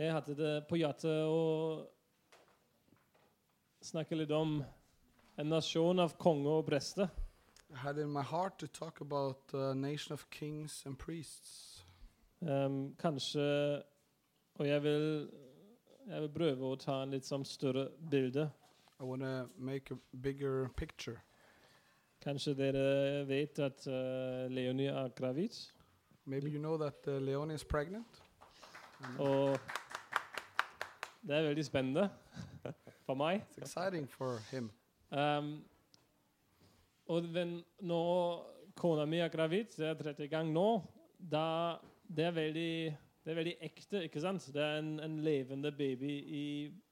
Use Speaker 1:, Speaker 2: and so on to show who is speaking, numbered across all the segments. Speaker 1: Jeg hadde det på hjertet å snakke litt om en nasjon av konger og prester.
Speaker 2: I had in my heart to talk about a nation of kings and priests.
Speaker 1: Ehm, kanskje Og jeg vil, jeg vil prøve å ta en litt sånn større bilde.
Speaker 2: I want to make a bigger picture.
Speaker 1: Kanskje dere vet at eh, Leonie er gravid.
Speaker 2: Maybe you know that uh, Leonie is pregnant. And
Speaker 1: Og det er veldig spennende for meg.
Speaker 2: it's exciting for him.
Speaker 1: Ehm, og den, når kona mi er gravid, det er tredje gang nå, da det er veldig, det er veldig ekte, ikke sant? Det er en, en levende baby i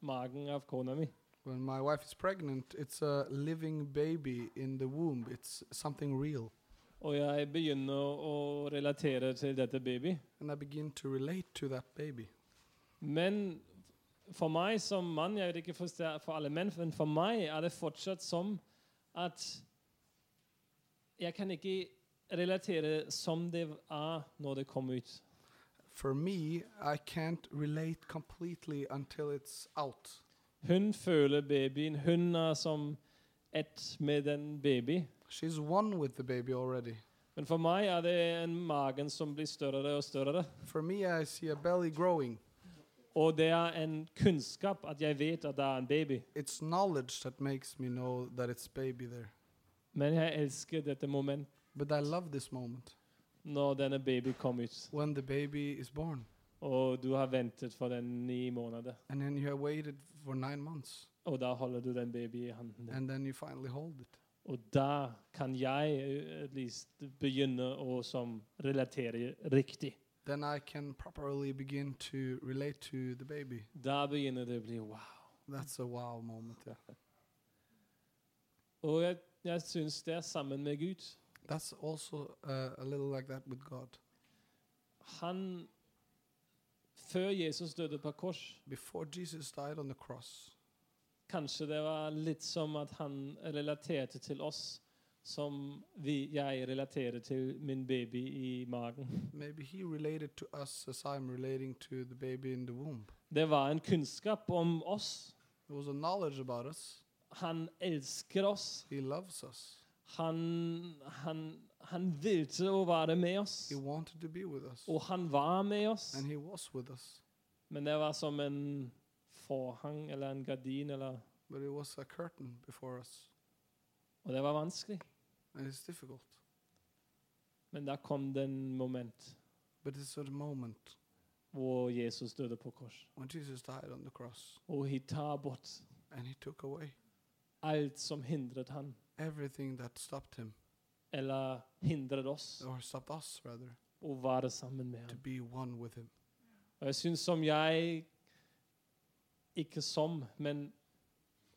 Speaker 1: magen av kona mi.
Speaker 2: When my wife is pregnant, it's a living baby in the womb. It's something real.
Speaker 1: Og jeg begynner å relatere til dette baby.
Speaker 2: And I begin to relate to that baby.
Speaker 1: Men for meg som mann, jeg vet ikke for ste- for alle menn, men for meg er det fortsatt som at jeg kan ikke relatere som det er når det kommer ut.
Speaker 2: For me, I can't relate completely until it's out.
Speaker 1: Hun føler babyen. Hun er som ett med den baby.
Speaker 2: She's one with the baby already.
Speaker 1: Men for meg er det en magen som blir større og større.
Speaker 2: For me, I see a belly growing.
Speaker 1: Og det er en kunnskap at jeg vet at det er en baby.
Speaker 2: It's knowledge that makes me know that it's baby there.
Speaker 1: Men jeg elsker dette moment
Speaker 2: But I love this moment
Speaker 1: når denne baby kom ut.
Speaker 2: when the baby is born.
Speaker 1: Og du har ventet for den ni måneder.
Speaker 2: And then you have waited for nine months.
Speaker 1: Og da holder du den baby i hånden din.
Speaker 2: And then you finally hold it.
Speaker 1: Og da kan jeg eh, at least, begynne å som relatere riktig.
Speaker 2: Then I can properly begin to relate to the baby.
Speaker 1: Da begynner det å bli wow.
Speaker 2: That's a wow moment. Yeah.
Speaker 1: Og jeg, jeg syns det er sammen med Gud.
Speaker 2: That's also uh, a little like that with God.
Speaker 1: Han Før Jesus døde på kors,
Speaker 2: Before Jesus died on the cross,
Speaker 1: kanskje det var litt som at han relaterte til oss som vi, jeg relaterer til min baby i magen.
Speaker 2: maybe he related to us as I'm relating to the baby in the womb.
Speaker 1: Det var en kunnskap om oss.
Speaker 2: It was a knowledge about us.
Speaker 1: Han elsker oss.
Speaker 2: He loves us.
Speaker 1: Han, han, han ville å være med oss.
Speaker 2: He wanted to be with us.
Speaker 1: Og han var med oss.
Speaker 2: And he was with us.
Speaker 1: Men det var som en forhang eller en gardin. Eller,
Speaker 2: But it was a curtain before us.
Speaker 1: og det var vanskelig.
Speaker 2: And it's difficult.
Speaker 1: Men da kom det en moment
Speaker 2: But it's a moment
Speaker 1: hvor Jesus døde på kors.
Speaker 2: when Jesus died on the cross
Speaker 1: Og han tar bort
Speaker 2: and he took away
Speaker 1: alt som hindret han,
Speaker 2: everything that stopped him,
Speaker 1: eller hindret oss,
Speaker 2: or stopped us rather,
Speaker 1: å være sammen med
Speaker 2: to
Speaker 1: ham.
Speaker 2: be one with him.
Speaker 1: Og jeg syns som jeg Ikke som, men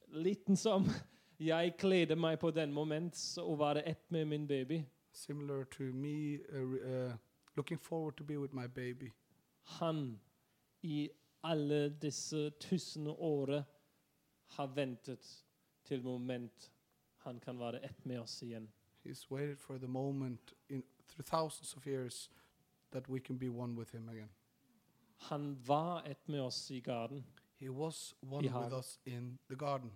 Speaker 1: liten som. Jeg gleder meg på den moment å være ett med min baby.
Speaker 2: Similar to me uh, re- uh, looking forward to be with my baby.
Speaker 1: han i alle disse tusen året har ventet til moment han kan være ett med oss igjen.
Speaker 2: He's waited for the moment in through thousands of years that we can be one with him again.
Speaker 1: Han var ett med oss i garden.
Speaker 2: He was one with
Speaker 1: har-
Speaker 2: us in the garden.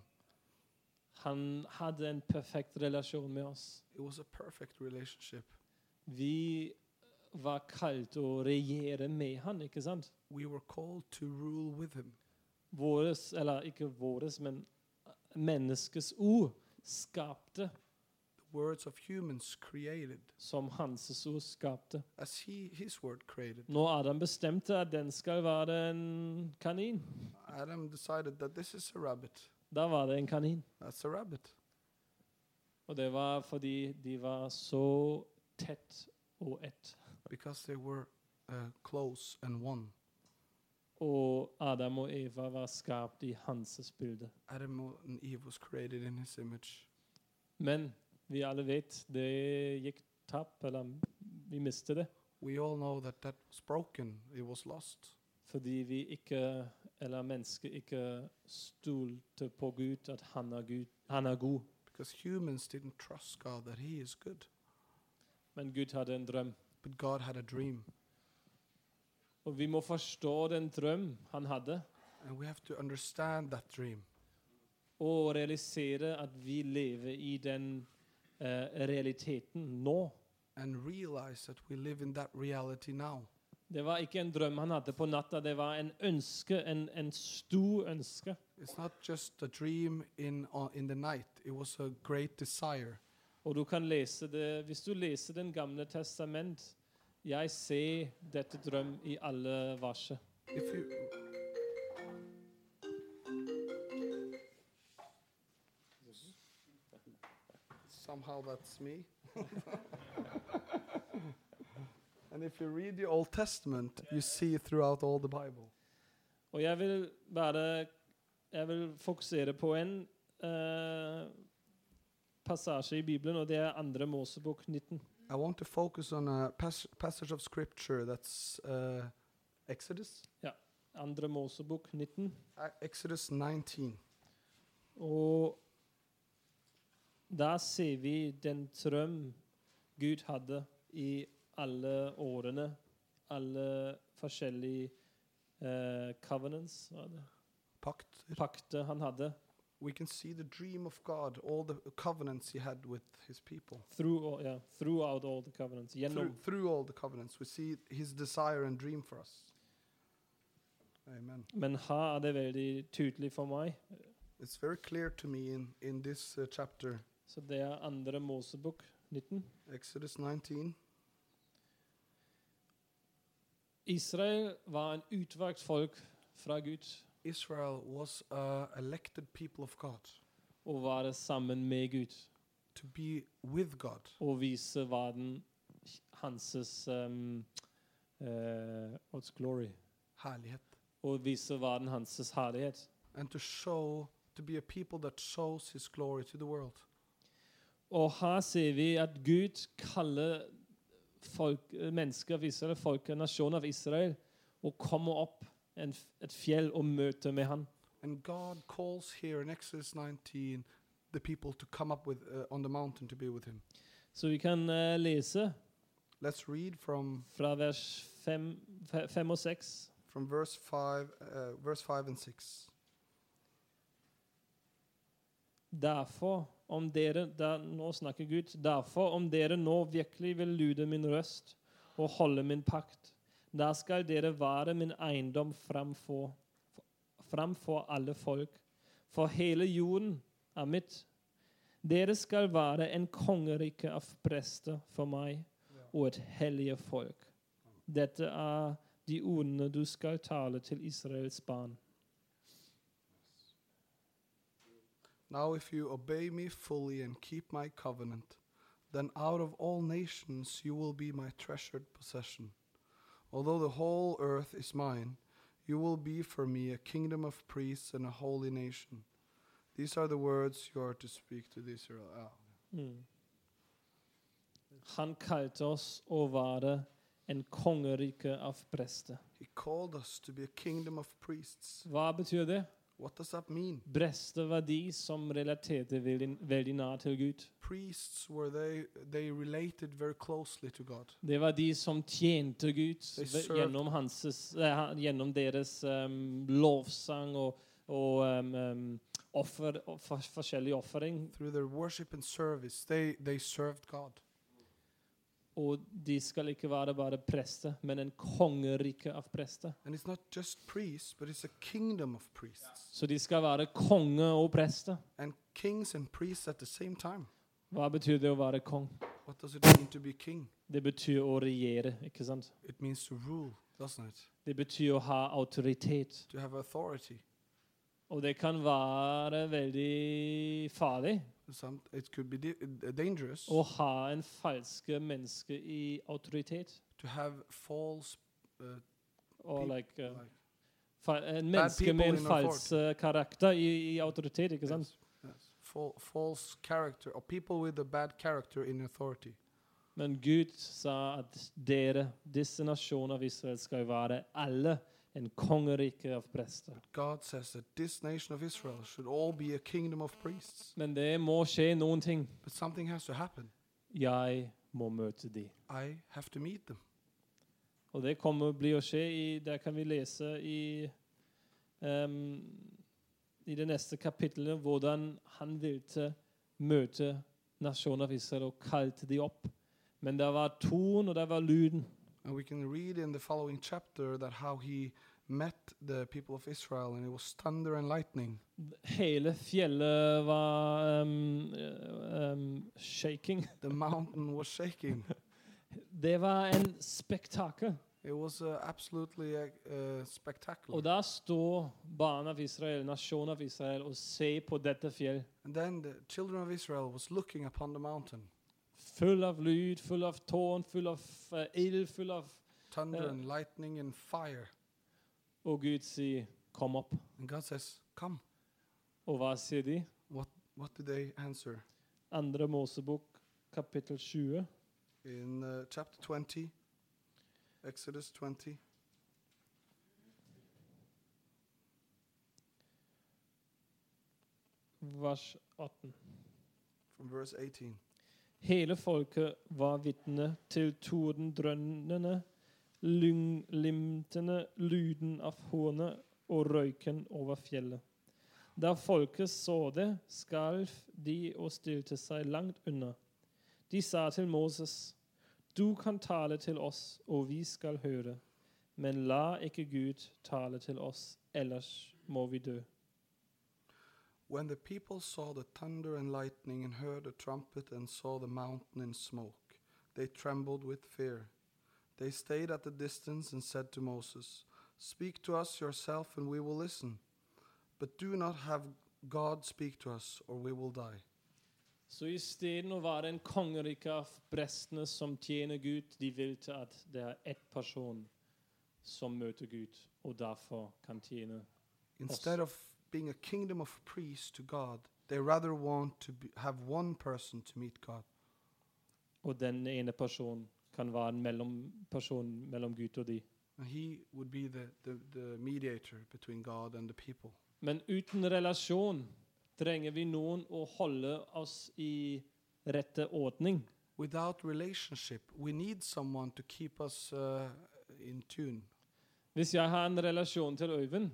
Speaker 1: Han hadde en perfekt relasjon med oss.
Speaker 2: It was a perfect relationship.
Speaker 1: Vi var kalt å regjere med han, ikke sant?
Speaker 2: We were called to rule with him.
Speaker 1: Våres, eller ikke våres, men menneskes ord skapte
Speaker 2: The words of humans created,
Speaker 1: som hans ord skapte.
Speaker 2: as he his word created.
Speaker 1: Når Adam bestemte at den skal være en kanin,
Speaker 2: Adam decided that this is a rabbit.
Speaker 1: Da var det en kanin.
Speaker 2: That's a rabbit.
Speaker 1: Og det var fordi de var så tett og ett.
Speaker 2: because they were uh, close and one.
Speaker 1: Og Adam og Eva var skapt i hans bilde.
Speaker 2: Adam o- and Eve was created in his image.
Speaker 1: Men vi alle vet det gikk tapp, eller vi mistet det.
Speaker 2: We all know that that was broken. It was lost
Speaker 1: Fordi vi ikke, eller mennesket ikke stolte på Gud, at han er, Gud, han er god.
Speaker 2: because humans didn't trust God that He is good.
Speaker 1: Men Gud hadde en drøm.
Speaker 2: But God had a dream.
Speaker 1: Og vi må forstå den drøm han hadde,
Speaker 2: and we have to understand that dream.
Speaker 1: og realisere at vi lever i den eh, realiteten nå.
Speaker 2: and realize that we live in that reality now.
Speaker 1: Det var ikke en drøm han hadde på natta, det var en ønske, en, en stor ønske.
Speaker 2: It's not just a dream in, uh, in the night, it was a great desire.
Speaker 1: Og du kan lese det, hvis du leser Den gamle testament, jeg ser dette drøm i alle varser.
Speaker 2: If you, somehow that's me. and if you read the Old Testament, you see throughout all the Bible.
Speaker 1: Og jeg vil bare jeg vil fokusere på en eh, passasje i Bibelen, og det er andre Mosebok 19.
Speaker 2: I want to focus on a pas- passage of scripture that's uh, Exodus.
Speaker 1: Andre Mosebok 19.
Speaker 2: Uh, Exodus 19.
Speaker 1: Og da ser vi den drøm Gud hadde i alle årene, alle forskjellige eh, covenants, hva er det?
Speaker 2: Pact.
Speaker 1: pakter han hadde,
Speaker 2: We can see the dream of God, all the covenants He had with His people.
Speaker 1: through, all- ja, throughout all the covenants,
Speaker 2: Through,
Speaker 1: gjennom.
Speaker 2: through all the covenants, we see His desire and dream for us. Amen.
Speaker 1: Men her er det veldig tydelig for meg.
Speaker 2: It's very clear to me in, in this uh, chapter,
Speaker 1: Så det er andre Mosebok 19.
Speaker 2: Exodus 19.
Speaker 1: Israel var en utvalgt folk fra Gud,
Speaker 2: Israel was uh, elected people of God
Speaker 1: og var sammen med Gud,
Speaker 2: to be with God,
Speaker 1: og vise verden hans um, eh, What's glory?
Speaker 2: herlighet,
Speaker 1: Og vise verden hans herlighet.
Speaker 2: and to show, to be a people that shows His glory to the world.
Speaker 1: Og her ser vi at Gud kaller folk, mennesker av Israel, folk, nasjonen av Israel, og kommer opp en, f- et fjell og møter med han.
Speaker 2: And God calls here in Exodus 19 the people to come up with uh, on the mountain to be with Him.
Speaker 1: Så vi kan eh, lese
Speaker 2: Let's read from
Speaker 1: fra vers 5, og 6.
Speaker 2: from verse five, uh, verse five and six.
Speaker 1: Derfor, om dere da- Nå snakker Gud. Derfor, om dere nå virkelig vil lyde min røst og holde min pakt, da skal dere være min eiendom framfor, framfor alle folk, for hele jorden er mitt. Dere skal være en kongerike av prester for meg og et hellige folk. Dette er de ordene du skal tale til Israels barn.
Speaker 2: Now, if you obey me fully and keep my covenant, then out of all nations you will be my treasured possession. Although the whole earth is mine, you will be for me a kingdom of priests and a holy nation. These are the words you are to speak to the Israel. Ah.
Speaker 1: Mm. Han kalte oss å være en kongerike av prester.
Speaker 2: He called us to be a kingdom of priests.
Speaker 1: Hva betyr det?
Speaker 2: What does that mean?
Speaker 1: Prester var de som relaterte veldig, veldig nær til Gud.
Speaker 2: Priests were they they related very closely to God.
Speaker 1: Det var de som tjente Gud
Speaker 2: They
Speaker 1: ve-
Speaker 2: served-
Speaker 1: gjennom, hanses, eh, ha- gjennom deres em, lovsang og, og em, em, offer, og for, forskjellig offering.
Speaker 2: Through their worship and service, they they served God.
Speaker 1: Og de skal ikke være bare prester, men en kongerike av prester.
Speaker 2: And it's not just priests, but it's a kingdom of priests.
Speaker 1: Så de skal være konge og prester.
Speaker 2: And kings and priests at the same time.
Speaker 1: Hva betyr det å være kong?
Speaker 2: What does it mean to be king?
Speaker 1: Det betyr å regjere, ikke sant?
Speaker 2: It means to rule, doesn't it?
Speaker 1: Det betyr å ha autoritet.
Speaker 2: To have authority.
Speaker 1: Og det kan være veldig farlig
Speaker 2: Some, it could be di- uh, dangerous
Speaker 1: å ha en falske menneske i autoritet.
Speaker 2: to have false uh,
Speaker 1: Og
Speaker 2: Pe-
Speaker 1: like, uh,
Speaker 2: like-
Speaker 1: fa en menneske med
Speaker 2: people
Speaker 1: en
Speaker 2: in
Speaker 1: falsk eh, karakter i, i autoritet, ikke sant?
Speaker 2: yes, yes. Fal- false character or people with a bad character in authority.
Speaker 1: Men Gud sa at dere, disse nasjoner av Israel, skal være alle en kongerike av prester.
Speaker 2: God says that this nation of Israel should all be a kingdom of priests.
Speaker 1: Men det må skje noen ting.
Speaker 2: But something has to happen.
Speaker 1: Jeg må møte de.
Speaker 2: I have to meet them.
Speaker 1: Og det kommer bli å skje i Der kan vi lese i ehm, I det neste kapittelet hvordan han ville møte nasjonen av Israel og kalte de opp. Men det var torn, og det var lyden.
Speaker 2: And we can read in the following chapter that how he met the people of Israel and it was thunder and lightning.
Speaker 1: Hele fjellet var ehm, eh, ehm, shaking.
Speaker 2: The mountain was shaking.
Speaker 1: Det var en spektakel.
Speaker 2: It was uh, absolutely uh, uh, spectacular.
Speaker 1: Og da står barna av Israel, nasjonen av Israel, og ser på dette fjell.
Speaker 2: and then the children of Israel was looking upon the mountain,
Speaker 1: Full av lyd, full av tårn, full av eh, ild, full av
Speaker 2: thunder
Speaker 1: Yeah.
Speaker 2: and lightning and fire.
Speaker 1: Og Gud sier, 'Kom opp'.
Speaker 2: And God says, "Come."
Speaker 1: Og hva sier de?
Speaker 2: What did they answer?
Speaker 1: Andre Mosebok, kapittel 20.
Speaker 2: In uh, chapter 20, Exodus 20,
Speaker 1: vers 18.
Speaker 2: from verse 18.
Speaker 1: Hele folket var vitne til tordendrønnene, lynglimtene, lyden av hornet og røyken over fjellet. Da folket så det, skalv de og stilte seg langt unna. De sa til Moses, du kan tale til oss, og vi skal høre, men la ikke Gud tale til oss, ellers må vi dø.
Speaker 2: When the people saw the thunder and lightning and heard the trumpet and saw the mountain in smoke, they trembled with fear. They stayed at a distance and said to Moses, Speak to us yourself and we will listen. But do not have God speak to us or we will die.
Speaker 1: Så isteden å være en kongerike av prestene som tjener Gud, de vil til at det er ett person som møter Gud, og derfor kan tjene.
Speaker 2: Instead of being a kingdom of priests to God, they rather want to be, have one person to meet God.
Speaker 1: Og den ene personen kan være en mellomperson mellom Gud og de.
Speaker 2: And he would be the, the, the mediator between God and the people.
Speaker 1: Men uten relasjon trenger vi noen å holde oss i rette ordning.
Speaker 2: without relationship, we need someone to keep us uh, in tune.
Speaker 1: Hvis jeg har en relasjon til Øyvind,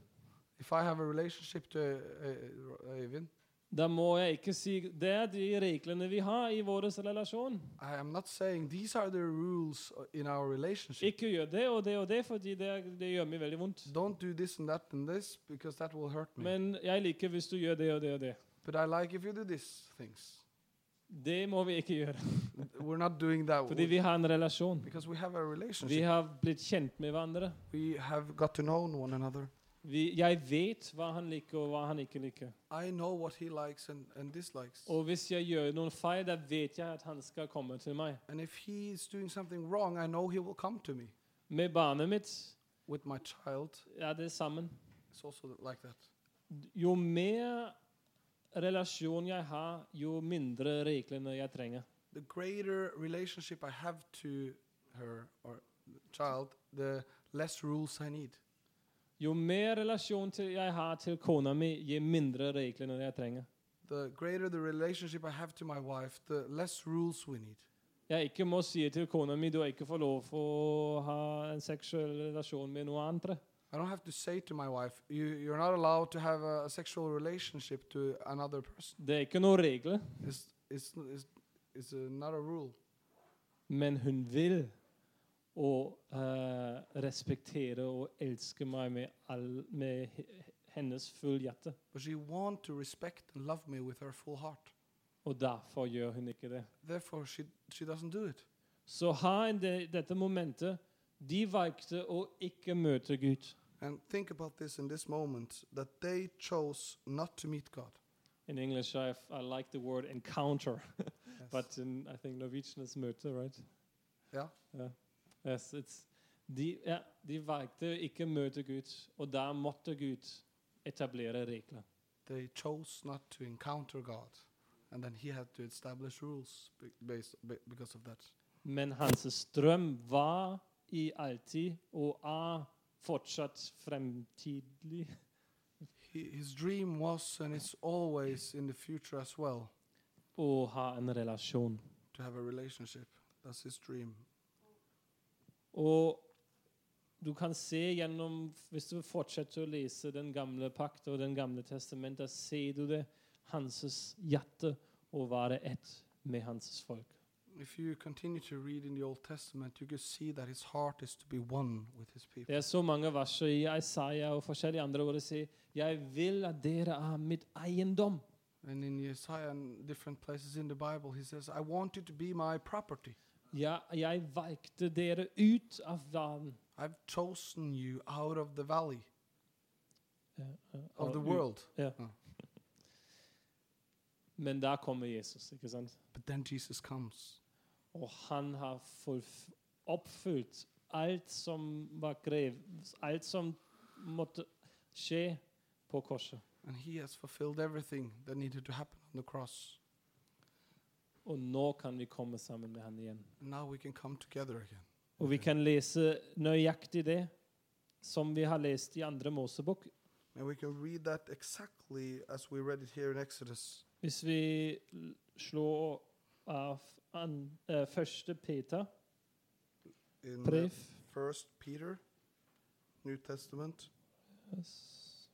Speaker 2: If I have a relationship to uh, Øyvind,
Speaker 1: da må jeg ikke si det er de reglene vi har i vår relasjon.
Speaker 2: I am not saying these are the rules uh, in our relationship.
Speaker 1: Ikke gjør det og det og det, fordi det, det gjør meg veldig vondt.
Speaker 2: Don't do this and that and this because that will hurt me.
Speaker 1: Men jeg liker hvis du gjør det og det og det.
Speaker 2: But I like if you do these things.
Speaker 1: Det må vi ikke gjøre,
Speaker 2: We're not doing that
Speaker 1: fordi vi har en relasjon.
Speaker 2: because we have a
Speaker 1: Vi
Speaker 2: relationship.
Speaker 1: har blitt kjent med hverandre.
Speaker 2: We have got to know one another.
Speaker 1: Vi, jeg vet hva han liker, og hva han ikke liker.
Speaker 2: I know what he likes and, and dislikes.
Speaker 1: Og hvis jeg gjør noen feil, da vet jeg at han skal komme til meg.
Speaker 2: And if he is doing something wrong, I know he will come to me.
Speaker 1: Med barnet mitt
Speaker 2: With my child,
Speaker 1: er det sammen.
Speaker 2: it's also like that.
Speaker 1: Jo mer relasjon jeg har, jo mindre reglene jeg trenger.
Speaker 2: the greater relationship I have to her or the child, the less rules I need.
Speaker 1: Jo mer relasjon til jeg har til kona mi, jo mindre reglene jeg trenger.
Speaker 2: The greater the relationship I have to my wife, the less rules we need.
Speaker 1: jeg ikke må si til kona mi du har ikke fått lov å ha en seksuell relasjon med noen andre.
Speaker 2: I don't have to say to my wife, you, you're not allowed to have a, a sexual relationship to another person.
Speaker 1: Det er ikke noen regler,
Speaker 2: It's, it's, n- it's, it's uh, not a rule.
Speaker 1: men hun vil å eh, respektere og elske meg med, all, med he- hennes full hjerte.
Speaker 2: But she wants to respect and love me with her full heart.
Speaker 1: Og derfor gjør hun ikke det.
Speaker 2: Therefore, she, she doesn't do it.
Speaker 1: Så her i det, dette momentet De valgte å ikke møte Gud.
Speaker 2: And think about this in this moment that they chose not to meet God.
Speaker 1: In English, I, I like the word encounter,
Speaker 2: Yes.
Speaker 1: but in, I think Norwegian is møte, right?
Speaker 2: yeah.
Speaker 1: Yes, it's, de, ja, de valgte å ikke møte Gud, og da måtte Gud etablere regler.
Speaker 2: they chose not to encounter God, and then he had to establish rules be- based be- because of that.
Speaker 1: Men hans strøm var i alltid og er fortsatt fremtidig.
Speaker 2: He, his dream was and is always in the future as well
Speaker 1: Å ha en relasjon.
Speaker 2: to have a relationship. That's his dream.
Speaker 1: Og du kan se gjennom Hvis du fortsetter å lese den gamle pakt og den gamle testamentet, ser du det. Hans hjerte å være ett med hans folk.
Speaker 2: If you continue to read in the Old Testament, you can see that his heart is to be one with his people.
Speaker 1: Det er så mange verser i Isaiah og forskjellige andre hvor det sier Jeg vil at dere er mitt eiendom.
Speaker 2: And in Isaiah and different places in the Bible, he says, I want you to be my property.
Speaker 1: Jeg, jeg valgte dere ut av verden.
Speaker 2: I've chosen you out of the valley,
Speaker 1: Ja, ja,
Speaker 2: of
Speaker 1: og
Speaker 2: the
Speaker 1: ut.
Speaker 2: world.
Speaker 1: Men der kommer Jesus, ikke sant?
Speaker 2: But then Jesus comes.
Speaker 1: Og han har fullf- oppfylt alt som var grev, alt som måtte skje på korset.
Speaker 2: And he has fulfilled everything that needed to happen on the cross.
Speaker 1: Og nå kan vi komme sammen med han igjen.
Speaker 2: And now we can come together again.
Speaker 1: Og vi kan lese nøyaktig det som vi har lest i andre Mosebok.
Speaker 2: And we can read that exactly as we read it here in Exodus.
Speaker 1: Hvis vi l- slår av an, eh, første Peter
Speaker 2: In uh,
Speaker 1: brev
Speaker 2: First Peter, New Testament,
Speaker 1: yes.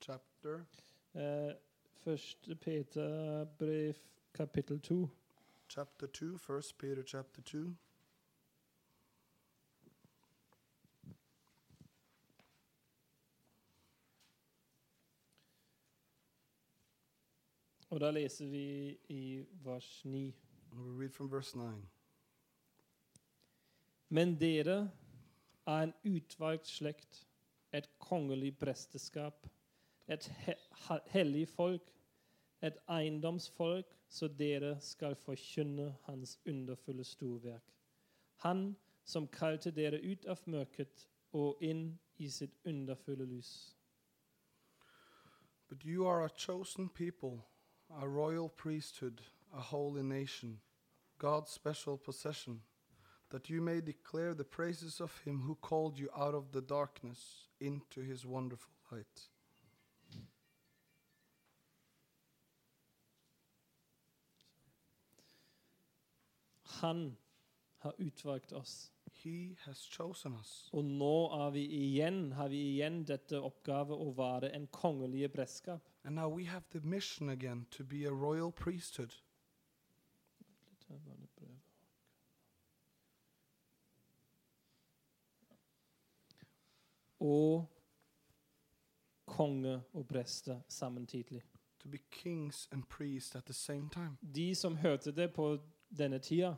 Speaker 2: chapter
Speaker 1: eh, Første Peter brev kapittel to.
Speaker 2: chapter 2, First Peter chapter 2.
Speaker 1: Og da leser vi i vers 9.
Speaker 2: And we read from verse 9.
Speaker 1: Men dere er en utvalgt slekt, et kongelig presteskap, et he ha- hellig folk, et eiendomsfolk, så dere skal forkynne hans underfulle storverk. Han som kalte dere ut av mørket og inn i sitt underfulle lys.
Speaker 2: But you are a chosen people, a royal priesthood, a holy nation, God's special possession, that you may declare the praises of him who called you out of the darkness into his wonderful light.
Speaker 1: Han har utvalgt oss.
Speaker 2: He has chosen us.
Speaker 1: Og nå er vi igjen, har vi igjen dette oppgave å være en kongelig prestskap.
Speaker 2: And now we have the mission again to be a royal priesthood.
Speaker 1: Og konge og prester samtidig.
Speaker 2: to be kings and priests at the same time.
Speaker 1: De som hørte det på denne tida,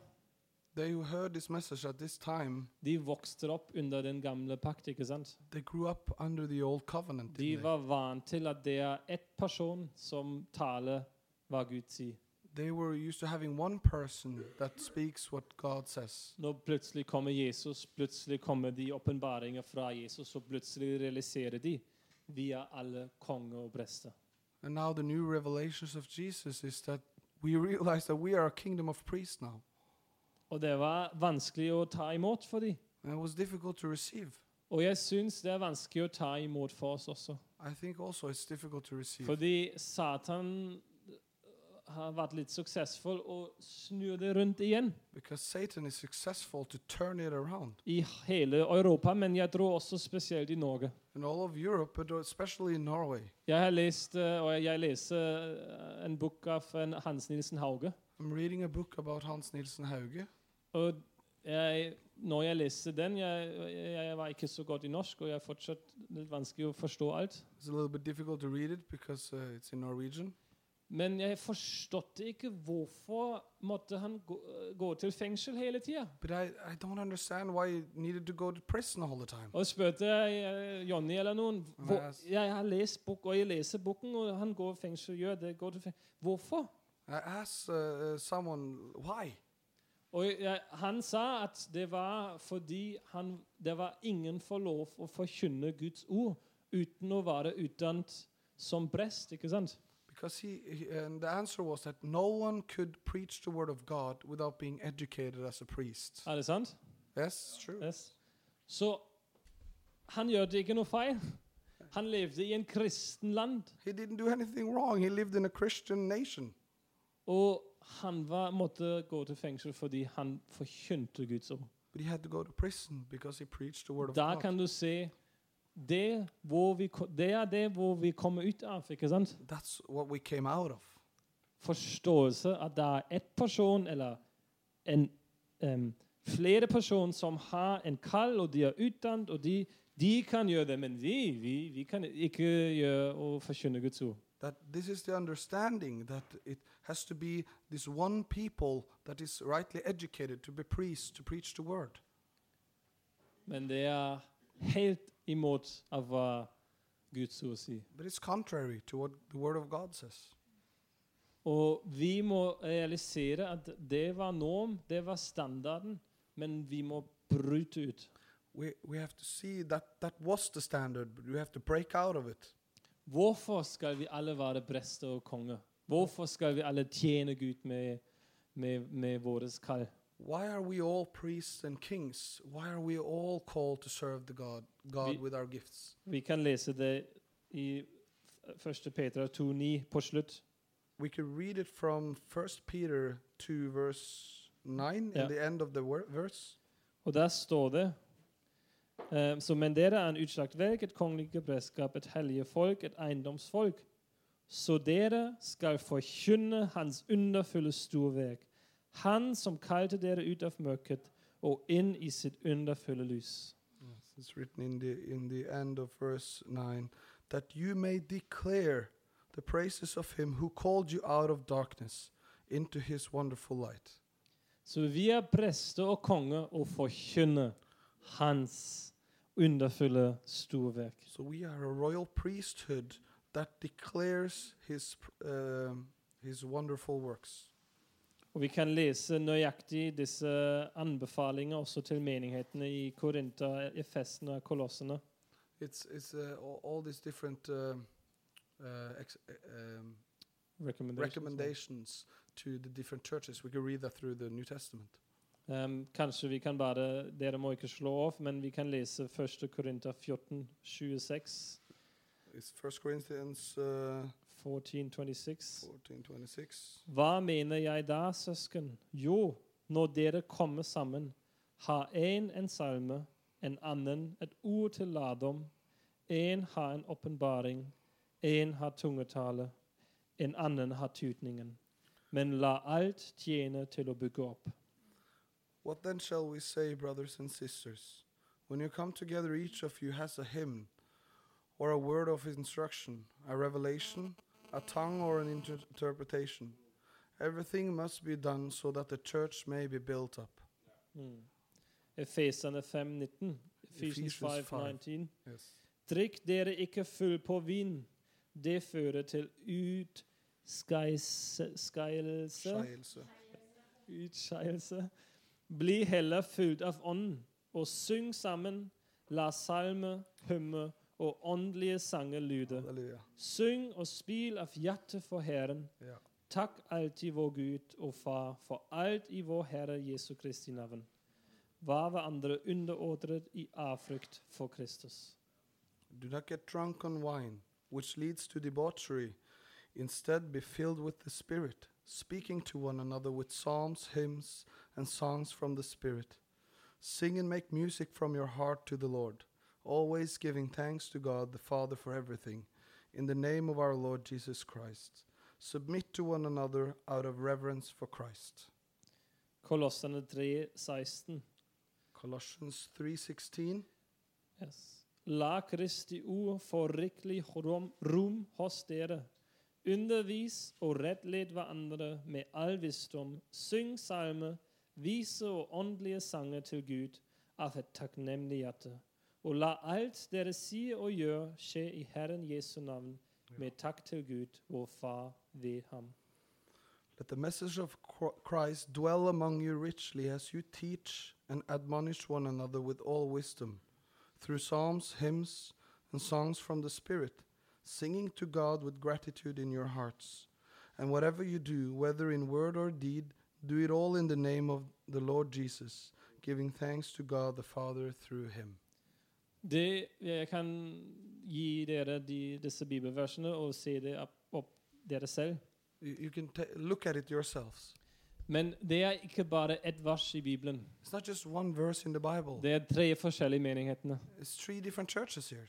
Speaker 2: They who heard this message at this time,
Speaker 1: de vokste opp under den gamle pakt, ikke sant?
Speaker 2: they grew up under the old covenant.
Speaker 1: De
Speaker 2: didn't
Speaker 1: var vant til at det er ett person som taler hva Gud sier.
Speaker 2: they? they were used to having one person that speaks what God says.
Speaker 1: Når plutselig kommer Jesus, plutselig kommer de åpenbaringer fra Jesus, og plutselig realiserer de vi er alle konge og prester.
Speaker 2: And now the new revelations of Jesus is that we realize that we are a kingdom of priests now.
Speaker 1: Og det var vanskelig å ta imot for dem.
Speaker 2: And it was difficult to receive.
Speaker 1: Og jeg syns det er vanskelig å ta imot for oss også.
Speaker 2: I think also it's difficult to receive.
Speaker 1: Fordi Satan har vært litt suksessfull og snur det rundt igjen
Speaker 2: because Satan is successful to turn it around.
Speaker 1: i hele Europa, men jeg tror også spesielt i Norge.
Speaker 2: In all of Europe, but especially in Norway.
Speaker 1: Jeg har lest, eh, og jeg leser eh, en bok av en Hans Nilsen Hauge.
Speaker 2: I'm reading a book about Hans Nielsen Hauge.
Speaker 1: Og jeg, når jeg leste den jeg, jeg, jeg var ikke så godt i norsk, og jeg er fortsatt litt vanskelig å forstå alt.
Speaker 2: It's a little bit difficult to read it because uh, it's in Norwegian.
Speaker 1: Men jeg forstod ikke hvorfor måtte han gå, gå til fengsel hele tida.
Speaker 2: But I, I don't understand why you needed to go to prison all the time.
Speaker 1: Og spurte jeg eh, Johnny eller noen hvor,
Speaker 2: Yes.
Speaker 1: Jeg har lest bok, og jeg leser boken, og han går i fengsel. gjør det, går til fengsel. Hvorfor?
Speaker 2: I asked uh, uh, someone why,
Speaker 1: Og jeg, han sa at det var fordi han, det var ingen får lov å forkynne Guds ord uten å være utdannet som prest. ikke sant?
Speaker 2: because he, he and the answer was that no one could preach the word of God without being educated as a priest.
Speaker 1: Er det sant?
Speaker 2: yes, it's true.
Speaker 1: Yes. Så han gjorde ikke noe feil. Han levde i en kristen land,
Speaker 2: He didn't do anything wrong. He lived in a Christian nation,
Speaker 1: og han var, måtte gå til fengsel fordi han forkynte Guds ord.
Speaker 2: But he had to go to prison because he preached the word of
Speaker 1: Da
Speaker 2: God.
Speaker 1: kan du se det, hvor vi, ko- det er det hvor vi kommer ut av. ikke sant?
Speaker 2: That's what we came out of.
Speaker 1: Forståelse at det er ett person eller en, em, flere personer som har en kall, og de er utdannet, og de, de kan gjøre det. Men vi, vi, vi kan ikke gjøre og forkynne Guds ord.
Speaker 2: That this is the understanding that it has to be this one people that is rightly educated to be priests, to preach the word.
Speaker 1: Men det er helt imot av hva Guds ord sier.
Speaker 2: But it's contrary to what the word of God says.
Speaker 1: Og vi må realisere at det var norm, det var standarden, men vi må bryte ut.
Speaker 2: We, we have to see that that was the standard, but we have to break out of it.
Speaker 1: Hvorfor skal vi alle være prester og konger? Hvorfor skal vi alle tjene Gud med, med, med våres kall?
Speaker 2: Why are we all priests and kings? Why are we all called to serve the God, God
Speaker 1: Vi-
Speaker 2: with our gifts?
Speaker 1: Vi kan lese det i 1. Peter 2,9 på slutt.
Speaker 2: We could read it from First Peter 2, verse 9,
Speaker 1: Yeah.
Speaker 2: in the end of the wor- verse.
Speaker 1: Og der står det eh, Så men dere er en utslagt verk, et kongelig prestskap, et hellige folk, et eiendomsfolk. Så dere skal forkynne Hans underfulle storverk. Han som kalte dere ut av mørket og inn i sitt underfulle lys.
Speaker 2: Yes, it's written in the in the end of verse 9 that you may declare the praises of him who called you out of darkness into his wonderful light.
Speaker 1: Så vi er prester og konger og forkynner Hans underfulle storverk.
Speaker 2: So we are a royal priesthood that declares his pr- um his wonderful works.
Speaker 1: Og vi kan lese nøyaktig disse anbefalinger også til menighetene i Korinta, Efesene og Kolossene.
Speaker 2: It's it's uh, all, all these different um uh, ex- uh, um,
Speaker 1: Recommendations.
Speaker 2: recommendations to the different churches. We can read that through the New Testament.
Speaker 1: Ehm, kanskje vi kan bare Dere må ikke slå av, men vi kan lese 1. Korinter 14, 26.
Speaker 2: It's First Corinthians uh,
Speaker 1: 14, 26.
Speaker 2: 14, 26.
Speaker 1: Hva mener jeg da, søsken? Jo, når dere kommer sammen, har én en salme, en annen et ord til ladom, én har en åpenbaring, én har tungetale, en annen har tydningen. Men la alt tjene til å bygge opp.
Speaker 2: What then shall we say, brothers and sisters? When you come together, each of you has a hymn, or a word of instruction, a revelation, a tongue, or an inter- interpretation. Everything must be done so that the church may be built up.
Speaker 1: Mm. Efesene 5, 19. Ephesians
Speaker 2: Ephesians
Speaker 1: 5,
Speaker 2: 5.
Speaker 1: 19.
Speaker 2: Yes.
Speaker 1: Drikk dere ikke full på vin. Det fører til utskeielse Utskeielse. Bli heller fylt av ånden, og syng sammen. La salme, hymne og åndelige sanger lyde.
Speaker 2: Hallelujah.
Speaker 1: Syng og spil av hjertet for Herren.
Speaker 2: Yeah.
Speaker 1: Takk alltid vår Gud og Far for alt i vår Herre Jesu Kristi navn. Var hverandre underordnet i avfrykt for Kristus.
Speaker 2: Do not get drunk on wine, which leads to debauchery. Instead, be filled with the Spirit, speaking to one another with psalms, hymns, and songs from the Spirit. Sing and make music from your heart to the Lord, always giving thanks to God the Father for everything, in the name of our Lord Jesus Christ. Submit to one another out of reverence for Christ.
Speaker 1: Kolossene 3, 16.
Speaker 2: Colossians 3:16
Speaker 1: Yes. La Kristi ord få rikelig rom, rom hos dere. Undervis og rettled hverandre med all visdom. Syng salmer, viser og åndelige sanger til Gud av et takknemlig hjerte. Og la alt dere sier og gjør, skje i Herren Jesu navn, med takk til Gud, vår Far, ved ham.
Speaker 2: Let the message of Chr- Christ dwell among you richly as you teach and admonish one another with all wisdom, through psalms, hymns, and songs from the Spirit, singing to God with gratitude in your hearts. And whatever you do, whether in word or deed, do it all in the name of the Lord Jesus, giving thanks to God the Father through him.
Speaker 1: Det jeg kan gi dere de, disse bibelversene og se det opp, opp dere selv.
Speaker 2: You, you can ta look at it yourselves.
Speaker 1: Men det er ikke bare ett vers i Bibelen.
Speaker 2: It's not just one verse in the Bible.
Speaker 1: Det er tre forskjellige menighetene
Speaker 2: It's three different churches here.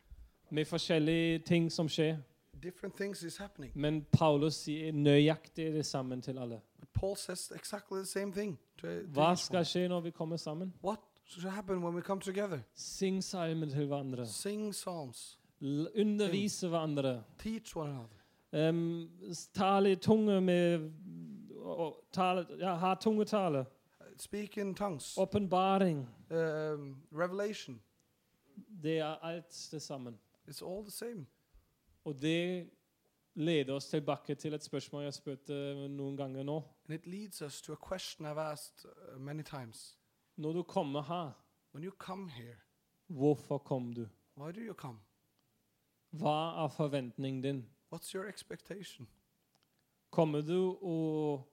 Speaker 1: med forskjellige ting som skjer.
Speaker 2: Different things is happening.
Speaker 1: Men Paulus sier nøyaktig det samme til alle.
Speaker 2: But Paul says exactly the same thing. To, to
Speaker 1: Hva
Speaker 2: each
Speaker 1: skal
Speaker 2: one.
Speaker 1: skje når vi kommer sammen?
Speaker 2: What should happen when we come together?
Speaker 1: Syng salmer til hverandre.
Speaker 2: Sing psalms.
Speaker 1: L- Undervise hverandre.
Speaker 2: Teach one another.
Speaker 1: Em, s- tale i tunge med og- og tale, ja, Ha tungetale.
Speaker 2: uh, Speak in tongues.
Speaker 1: Oh. Åpenbaring.
Speaker 2: Um, revelation.
Speaker 1: Det er alt det sammen.
Speaker 2: It's all the same.
Speaker 1: Og det leder oss tilbake til et spørsmål jeg spurte noen ganger nå.
Speaker 2: And it leads us to a question I've asked uh, many times.
Speaker 1: Når du kommer her,
Speaker 2: When you come here,
Speaker 1: hvorfor kom du?
Speaker 2: why do you come?
Speaker 1: Hva er forventningen din?
Speaker 2: What's your expectation?
Speaker 1: Kommer du og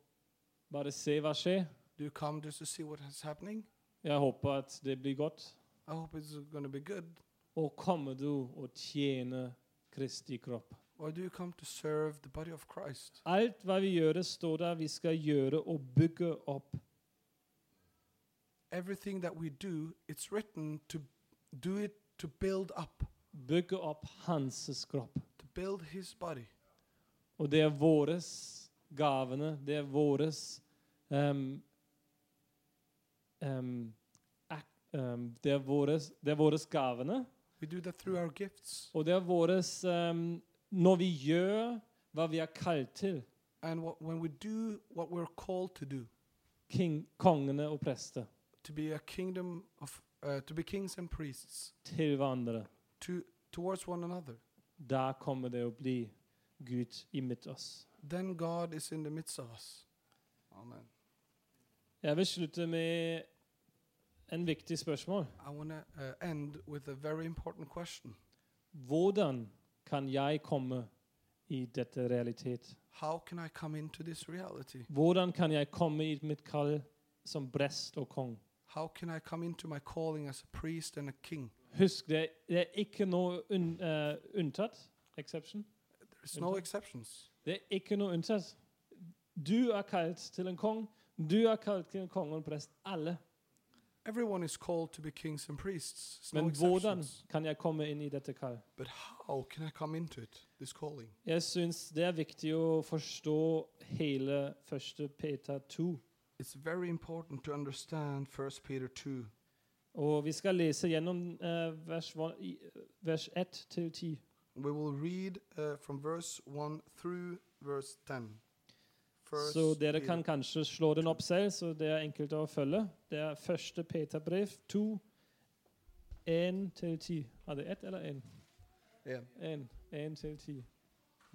Speaker 1: bare se hva skjer?
Speaker 2: Do you come just to see what is happening?
Speaker 1: Jeg håper at det blir godt.
Speaker 2: I hope it's going to be good.
Speaker 1: Og kommer du og tjener Kristi kropp?
Speaker 2: Or do you come to serve the body of Christ?
Speaker 1: Alt hva vi gjør, det står der vi skal gjøre og bygge opp.
Speaker 2: Everything that we do, it's written to do it to build up,
Speaker 1: Bygge opp Hans kropp.
Speaker 2: to build his body.
Speaker 1: Og det er våres gavene, det er våres ehm, ehm, ak- ehm, det, er våres, det er våres gavene,
Speaker 2: We do that through our gifts
Speaker 1: og det er våres ehm, Når vi gjør hva vi er kalt til,
Speaker 2: and what, when we do what we're called to do,
Speaker 1: king, kongene og prester,
Speaker 2: to be a kingdom of uh, to be kings and priests
Speaker 1: til hverandre,
Speaker 2: to towards one another.
Speaker 1: da kommer det å bli Gud i mitt oss.
Speaker 2: Then God is in the midst of us. Amen.
Speaker 1: Jeg vil slutte med en viktig spørsmål.
Speaker 2: I want to uh, end with a very important question.
Speaker 1: Hvordan kan jeg komme i dette realitet?
Speaker 2: How can I come into this reality?
Speaker 1: Hvordan kan jeg komme i mitt kall som prest og kong?
Speaker 2: How can I come into my calling as a priest and a king?
Speaker 1: Husk, det, det er ikke noe unn, eh, unntatt. Exception.
Speaker 2: There's no
Speaker 1: Okay.
Speaker 2: exceptions.
Speaker 1: Det er ikke noe unntatt. Du er kalt til en kong. Du er kalt til en konge og en prest. Alle.
Speaker 2: Everyone is called to be kings and priests. There's no
Speaker 1: Men hvordan
Speaker 2: exceptions.
Speaker 1: kan jeg komme inn i dette kall?
Speaker 2: But how can I come into it, this calling?
Speaker 1: Jeg syns det er viktig å forstå hele 1. Peter 2.
Speaker 2: It's very important to understand 1 Peter 2.
Speaker 1: Og vi skal lese gjennom eh, vers, van- i- vers 1 til 10.
Speaker 2: We will read uh, from verse 1 through verse 10. First
Speaker 1: Så dere
Speaker 2: Peter.
Speaker 1: kan kanskje slå den opp selv, så det er enkelt å følge. Det er første Peterbrev 2, 1 til 10. Er det 1 eller 1?
Speaker 2: Yeah.
Speaker 1: 1. 1 til 10.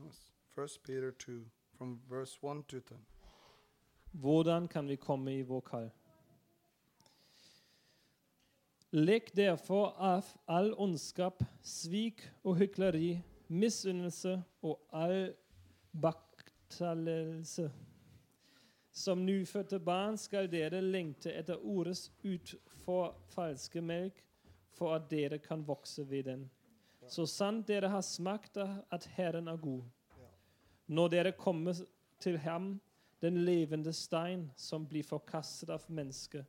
Speaker 2: Yes. First Peter 2, from verse 1 to 10.
Speaker 1: Hvordan kan vi komme i vår kall? Legg derfor av all ondskap, svik og hykleri, misunnelse og all baktalelse. Som nyfødte barn skal dere lengte etter ordets utfor falske melk, for at dere kan vokse ved den. Så sant dere har smakt av at Herren er god. Når dere kommer til ham, den levende stein som blir forkastet av mennesket,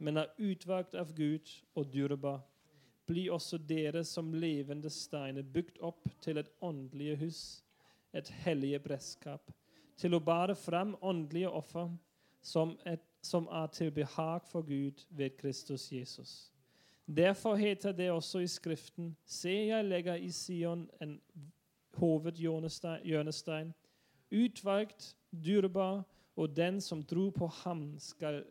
Speaker 1: men er utvalgt av Gud og dyrebar. Bli også dere som levende steiner bygd opp til et åndelig hus, et hellige prestskap, til å bære fram åndelige offer som, et, som er til behag for Gud ved Kristus Jesus. Derfor heter det også i Skriften, se, jeg legger i Sion en hovedhjørnestein, hjørnestein, utvalgt, dyrebar, og den som tror på ham, skal,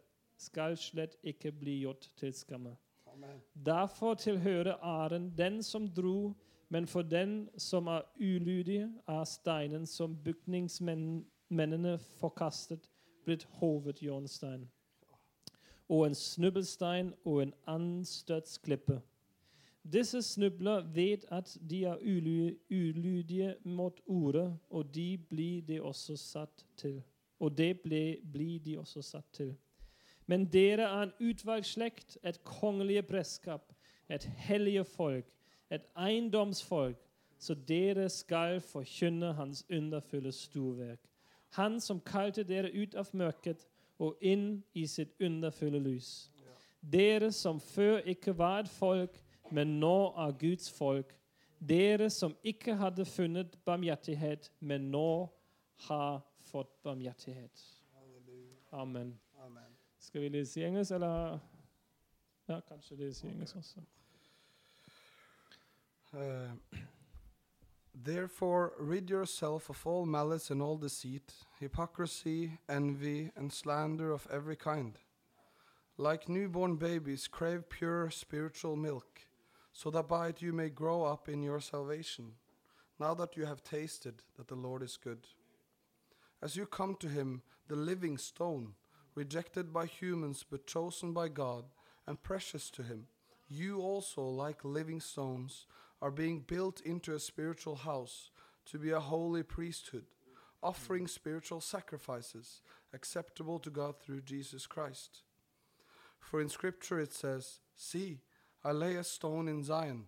Speaker 1: skal slett ikke bli gjort til skamme.
Speaker 2: Amen.
Speaker 1: Derfor tilhører æren den som dro, men for den som er ulydig, er steinen som bygningsmennene forkastet, blitt hovedjornstein, og en snubbelstein og en anstøtsklippe. Disse snubler ved at de er uly ulydige mot ordet, og de blir de også satt til. Og det ble, blir de også satt til. Men dere er en utvalgt slekt, et kongelige prestskap, et hellige folk, et eiendomsfolk, så dere skal forkynne hans underfulle storverk. Han som kalte dere ut av mørket og inn i sitt underfulle lys. Dere som før ikke var et folk, men nå er Guds folk. Dere som ikke hadde funnet barmhjertighet, men nå har fått barmhjertighet. Amen.
Speaker 2: Amen.
Speaker 1: Skal vi lese i engelsk, eller Ja, kanskje lese i engelsk også.
Speaker 2: Uh, Therefore, rid yourself of all malice and all deceit, hypocrisy, envy, and slander of every kind. Like newborn babies, crave pure spiritual milk, so that by it you may grow up in your salvation, now that you have tasted that the Lord is good. As you come to him, the living stone, rejected by humans but chosen by God and precious to him, you also, like living stones, are being built into a spiritual house to be a holy priesthood, offering spiritual sacrifices acceptable to God through Jesus Christ. For in Scripture it says, See, I lay a stone in Zion,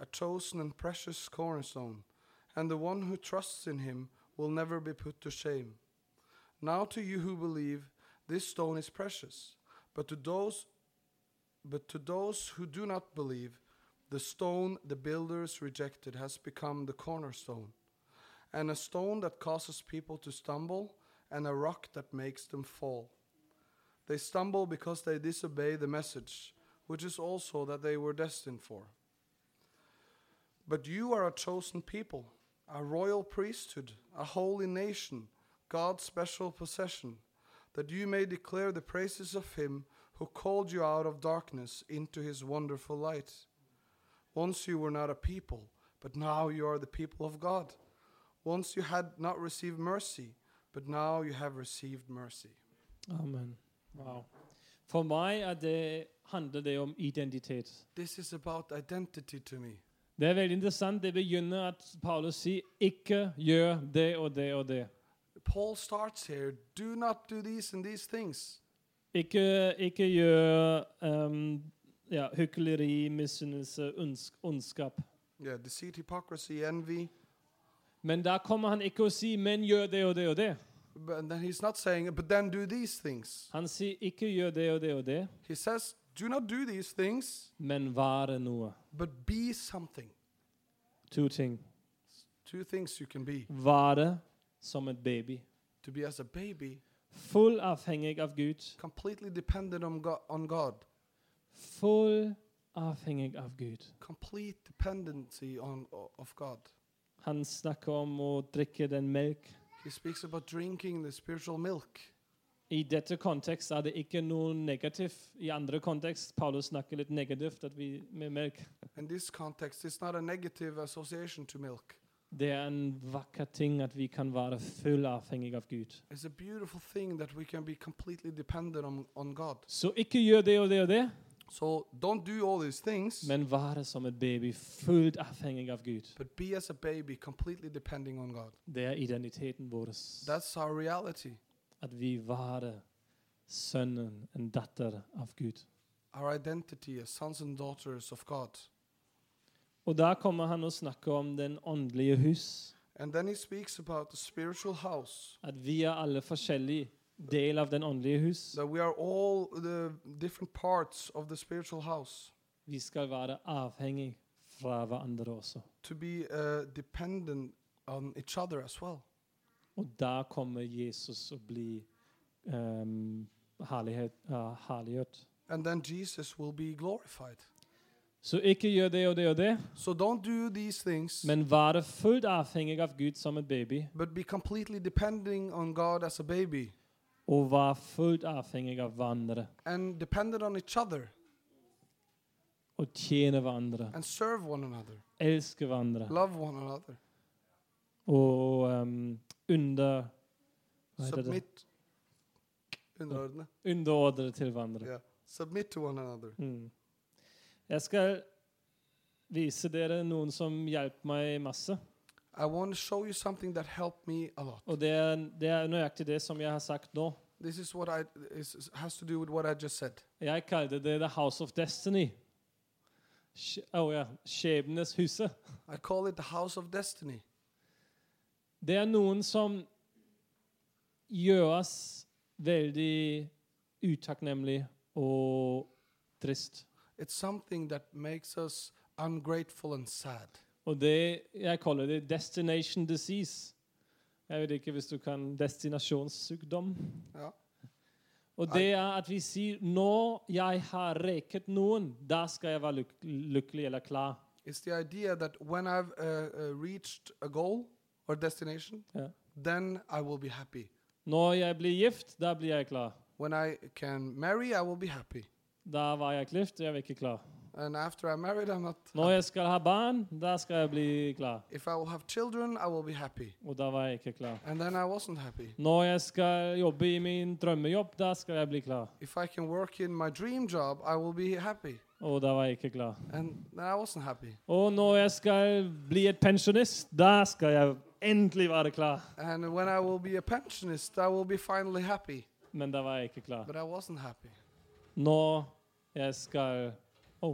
Speaker 2: a chosen and precious cornerstone, and the one who trusts in him will never be put to shame. Now to you who believe, this stone is precious, but to those but to those who do not believe, the stone the builders rejected has become the cornerstone, and a stone that causes people to stumble, and a rock that makes them fall. They stumble because they disobey the message, which is also that they were destined for. But you are a chosen people, a royal priesthood, a holy nation, God's special possession, that you may declare the praises of Him who called you out of darkness into His wonderful light. Once you were not a people, but now you are the people of God. Once you had not received mercy, but now you have received mercy.
Speaker 1: Amen. Wow. For meg er det, handler det om identitet.
Speaker 2: This is about identity to me.
Speaker 1: Det er veldig interessant. Det begynner at Paulus sier 'ikke gjør det og det og det'.
Speaker 2: Paul starts here do not do these and these things.
Speaker 1: Ikke, ikke gjør ehm, ja, hykleri, misunnelse, ondsk- ondskap.
Speaker 2: Yeah, deceit, hypocrisy, envy.
Speaker 1: Men da kommer han ikke og sier 'men gjør det og det og det'.
Speaker 2: But and then he's not saying, but then do these things.
Speaker 1: Han sier 'ikke gjør det og det og det',
Speaker 2: He says, do not do these things,
Speaker 1: men være noe.
Speaker 2: but be something.
Speaker 1: To ting.
Speaker 2: Two things you can be
Speaker 1: Være som et baby.
Speaker 2: to be as a baby,
Speaker 1: Full avhengig av Gud.
Speaker 2: completely dependent on God, on God.
Speaker 1: Full avhengig av Gud.
Speaker 2: complete dependency on o- of God.
Speaker 1: Han snakker om å drikke den melk.
Speaker 2: He speaks about drinking the spiritual milk.
Speaker 1: I dette kontekst er det ikke noe negativt. I andre kontekst Paulus snakker litt negativt at vi, med melk.
Speaker 2: In this context, it's not a negative association to milk.
Speaker 1: Det er en vakker ting at vi kan være full avhengig av Gud.
Speaker 2: It's a beautiful thing that we can be completely dependent on, on God.
Speaker 1: Så ikke gjør det og det og det,
Speaker 2: So don't do all these things,
Speaker 1: men være som et baby, fullt avhengig av Gud.
Speaker 2: but be as a baby, completely depending on God.
Speaker 1: Det er identiteten vår.
Speaker 2: That's our reality.
Speaker 1: At vi være sønnen, en datter av Gud.
Speaker 2: Our identity as sons and daughters of God.
Speaker 1: Og da kommer han og snakker om den åndelige hus.
Speaker 2: And then he speaks about the spiritual house,
Speaker 1: At vi er alle forskjellige del av den åndelige hus.
Speaker 2: that we are all the different parts of the spiritual house.
Speaker 1: Vi skal være avhengig fra hverandre også.
Speaker 2: to be uh, dependent on each other as well.
Speaker 1: Og da kommer Jesus å bli um, herlighet, ja, herliggjort.
Speaker 2: And then Jesus will be glorified.
Speaker 1: Så ikke gjør det og det og det,
Speaker 2: So don't do these things,
Speaker 1: men være fullt avhengig av Gud som et baby.
Speaker 2: but be completely depending on God as a baby
Speaker 1: Og være fullt avhengig av hverandre.
Speaker 2: and dependent on each other
Speaker 1: Og tjene hverandre.
Speaker 2: and serve one another,
Speaker 1: Elske hverandre.
Speaker 2: love one another,
Speaker 1: Og um, under Hva heter det?
Speaker 2: submit. Underordne.
Speaker 1: Underordre til hverandre.
Speaker 2: Yeah. Submit to one another.
Speaker 1: Mm. Jeg skal vise dere noen som hjalp meg masse.
Speaker 2: I want to show you something that helped me a lot.
Speaker 1: Og det er, det er nøyaktig det som jeg har sagt nå.
Speaker 2: This is what I is, is- has to do with what I just said.
Speaker 1: Jeg kalte det The House of Destiny. Skje- Å ja. Skjebnes huset.
Speaker 2: I call it the house of destiny.
Speaker 1: Det er noen som gjør oss veldig utakknemlig og trist.
Speaker 2: It's something that makes us ungrateful and sad.
Speaker 1: Og det jeg kaller det destination disease. Jeg vet ikke hvis du kan destinasjonssykdom.
Speaker 2: Ja.
Speaker 1: Og det er at vi sier 'Når jeg har reket noen, da skal jeg være lykk- lykkelig eller klar'.
Speaker 2: It's the idea that when I've uh, uh, reached a goal or destination,
Speaker 1: Ja.
Speaker 2: then I will be happy.
Speaker 1: Når jeg blir gift, da blir jeg klar.
Speaker 2: When I can marry, I will be happy.
Speaker 1: Da var jeg gift, jeg var ikke klar.
Speaker 2: And after I'm married, I'm not.
Speaker 1: Når jeg skal ha barn, da skal jeg bli klar.
Speaker 2: If I will have children, I will be happy.
Speaker 1: Og da var jeg ikke klar.
Speaker 2: And then I wasn't happy.
Speaker 1: Når jeg skal jobbe i min drømmejobb, da skal jeg bli klar.
Speaker 2: If I can work in my dream job, I will be happy.
Speaker 1: Og da var jeg ikke klar.
Speaker 2: And then I wasn't happy.
Speaker 1: Og når jeg skal bli et pensjonist, da skal jeg endelig være klar.
Speaker 2: And when I will be a pensionist, I will be finally happy.
Speaker 1: Men da var jeg ikke klar.
Speaker 2: But I wasn't happy.
Speaker 1: Når jeg skal Å,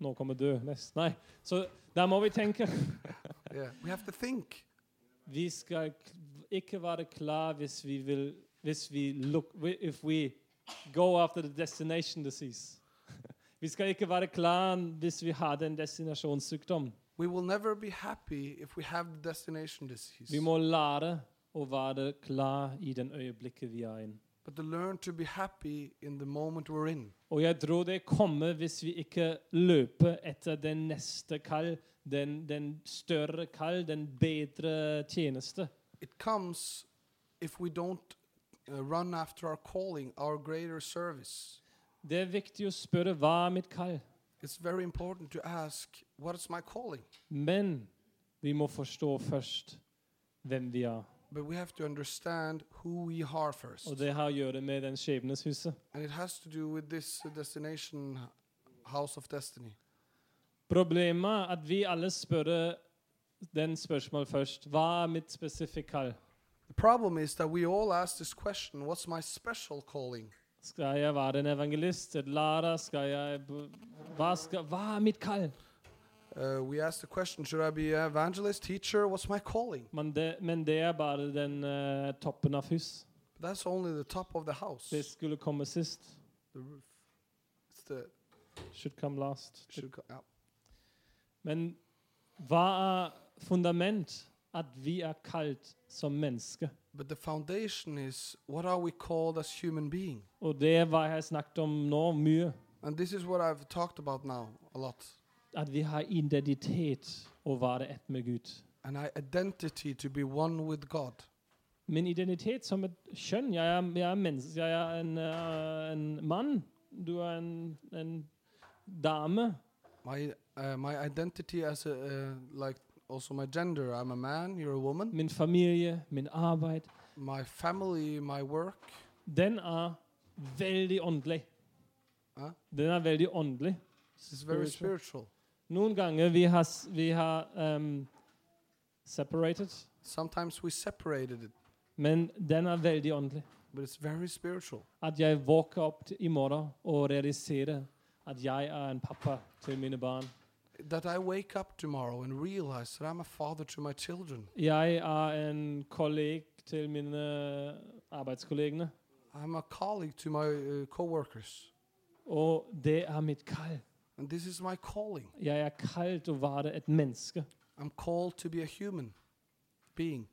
Speaker 1: nå kommer du. Nest. Nei. Så da må vi tenke.
Speaker 2: Yeah. We have to think.
Speaker 1: Vi skal k- ikke være klar hvis vi vil Hvis vi look wi- If we go after the destination disease. Vi skal ikke være klar hvis vi har en destinasjonssykdom.
Speaker 2: We will never be happy if we have the destination disease.
Speaker 1: Vi må lære å være klar i den øyeblikket vi er i.
Speaker 2: but to learn to be happy in the moment we're in.
Speaker 1: Og jeg tror det kommer hvis vi ikke løper etter den neste kall, den, den større kall, den bedre tjeneste.
Speaker 2: It comes if we don't uh, run after our calling, our greater service.
Speaker 1: Det er viktig å spørre hva er mitt kall,
Speaker 2: It's very important to ask, what is my calling?
Speaker 1: men vi må forstå først hvem vi er.
Speaker 2: But we have to understand who we are first.
Speaker 1: Og det har å gjøre med den skjebneshuset.
Speaker 2: And it has to do with this uh, destination, h- House of Destiny.
Speaker 1: Problemet er at vi alle spør den spørsmål først. Hva er mitt spesifikke kall?
Speaker 2: The problem is that we all ask this question what's my special calling?
Speaker 1: Skal jeg være en evangelist, et lærer? Skal jeg b- hva, skal, hva er mitt kall?
Speaker 2: Uh, we ask the question should I be an evangelist, teacher? What's my calling?
Speaker 1: Men det, men det er bare den eh, toppen av hus.
Speaker 2: But that's only the top of the house.
Speaker 1: Det skulle komme sist.
Speaker 2: The roof. It's the.
Speaker 1: Should come last.
Speaker 2: Should go, yeah.
Speaker 1: Men hva er fundament? At vi er kalt som mennesker.
Speaker 2: But the foundation is what are we called as human being?
Speaker 1: Og det er hva jeg har snakket om nå mye.
Speaker 2: And this is what I've talked about now a lot.
Speaker 1: At vi har identitet å være ett med Gud.
Speaker 2: And I identity to be one with God.
Speaker 1: Min identitet som et kjønn. Jeg er, jeg er, mennes, jeg er en, eh, en mann. Du er en, en dame.
Speaker 2: My uh, my identity as a uh, like also my gender. I'm a man. You're a woman.
Speaker 1: Min familie, min arbeid.
Speaker 2: My family, my work.
Speaker 1: Den er veldig åndelig.
Speaker 2: Hæ?
Speaker 1: Den er veldig åndelig.
Speaker 2: This is very
Speaker 1: Spiritual.
Speaker 2: spiritual.
Speaker 1: Noen ganger vi har, s- vi har ehm, separated,
Speaker 2: Sometimes we separated it,
Speaker 1: men den er veldig åndelig.
Speaker 2: but it's very spiritual.
Speaker 1: At jeg våker opp t- i morgen og realiserer at jeg er en pappa til mine barn.
Speaker 2: That I wake up tomorrow and realize that I'm a father to my children.
Speaker 1: Jeg er en kolleg til mine arbeidskollegene.
Speaker 2: I'm a colleague to my uh, coworkers,
Speaker 1: Og det er mitt kall.
Speaker 2: and this is my calling.
Speaker 1: Jeg er kalt å være et menneske.
Speaker 2: I'm called to be a human being.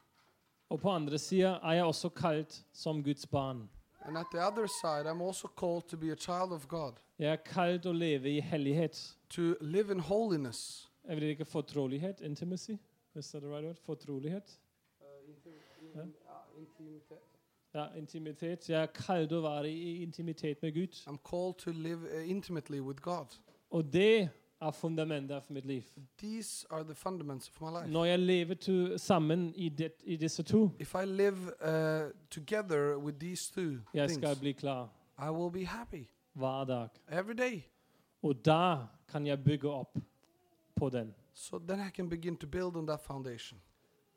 Speaker 1: Og på andre sida er jeg også kalt som Guds barn.
Speaker 2: And at the other side, I'm also called to be a child of God,
Speaker 1: Jeg er kalt å leve i hellighet.
Speaker 2: to live in holiness.
Speaker 1: Jeg vil ikke fortrolighet, intimacy. Is that the right word? Fortrolighet. Ja, intimitet. Jeg er kalt å være i intimitet med Gud.
Speaker 2: I'm called to live uh, intimately with God.
Speaker 1: Og det er fundamentet for mitt liv.
Speaker 2: These are the fundaments of my life.
Speaker 1: Når jeg lever to, sammen i, det, i disse to,
Speaker 2: If I live uh, together with these two
Speaker 1: jeg skal
Speaker 2: things,
Speaker 1: bli klar
Speaker 2: I will be happy
Speaker 1: hver dag.
Speaker 2: every day.
Speaker 1: Og da kan jeg bygge opp på den.
Speaker 2: So then I can begin to build on that foundation.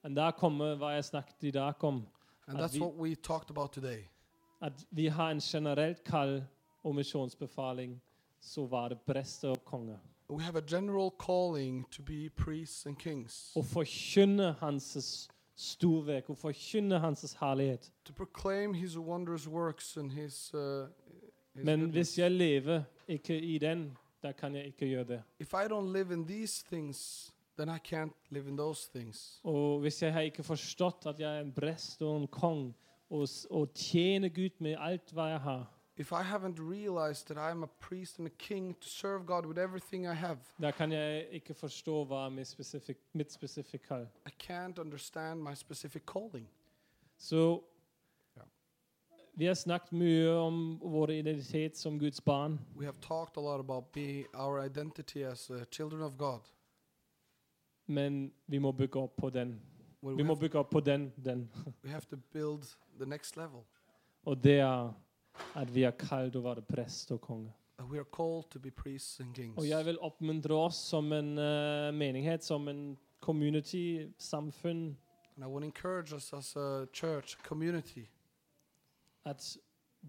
Speaker 1: Og da kommer hva jeg snakket i dag om,
Speaker 2: And
Speaker 1: Att
Speaker 2: that's
Speaker 1: vi-
Speaker 2: what we talked about today.
Speaker 1: at vi har en generelt kall og misjonsbefaling, så var det prester og konger.
Speaker 2: We have a general calling to be priests and kings,
Speaker 1: Å forkynne Hans stor vek og forkynne Hans herlighet.
Speaker 2: to proclaim his wondrous works and his. Uh, his
Speaker 1: Men
Speaker 2: goodness.
Speaker 1: hvis jeg lever ikke i den, da kan jeg ikke gjøre det.
Speaker 2: if I don't live in these things, then I can't live in those things.
Speaker 1: Og hvis jeg har ikke forstått at jeg er en prest og en kong og, s- og tjener Gud med alt hva jeg har,
Speaker 2: If I haven't realized that I'm a priest and a king to serve God with everything I have,
Speaker 1: da kan jeg ikke forstå hva er mitt spesifik- mitt spesifikke kall.
Speaker 2: I can't understand my specific calling.
Speaker 1: Så
Speaker 2: Ja.
Speaker 1: vi har snakket mye om vår identitet som Guds barn.
Speaker 2: We have talked a lot about be our identity as uh, children of God.
Speaker 1: Men vi må bygge opp på den.
Speaker 2: Well,
Speaker 1: Vi
Speaker 2: we,
Speaker 1: må
Speaker 2: have,
Speaker 1: bygge opp på den, den.
Speaker 2: we have to build the next level.
Speaker 1: Og det er at vi er kalt å være prest og konge.
Speaker 2: Uh, we are called to be priests and kings.
Speaker 1: Og jeg vil oppmuntre oss som en eh, menighet, som en community, samfunn,
Speaker 2: and I would encourage us as a church, community,
Speaker 1: at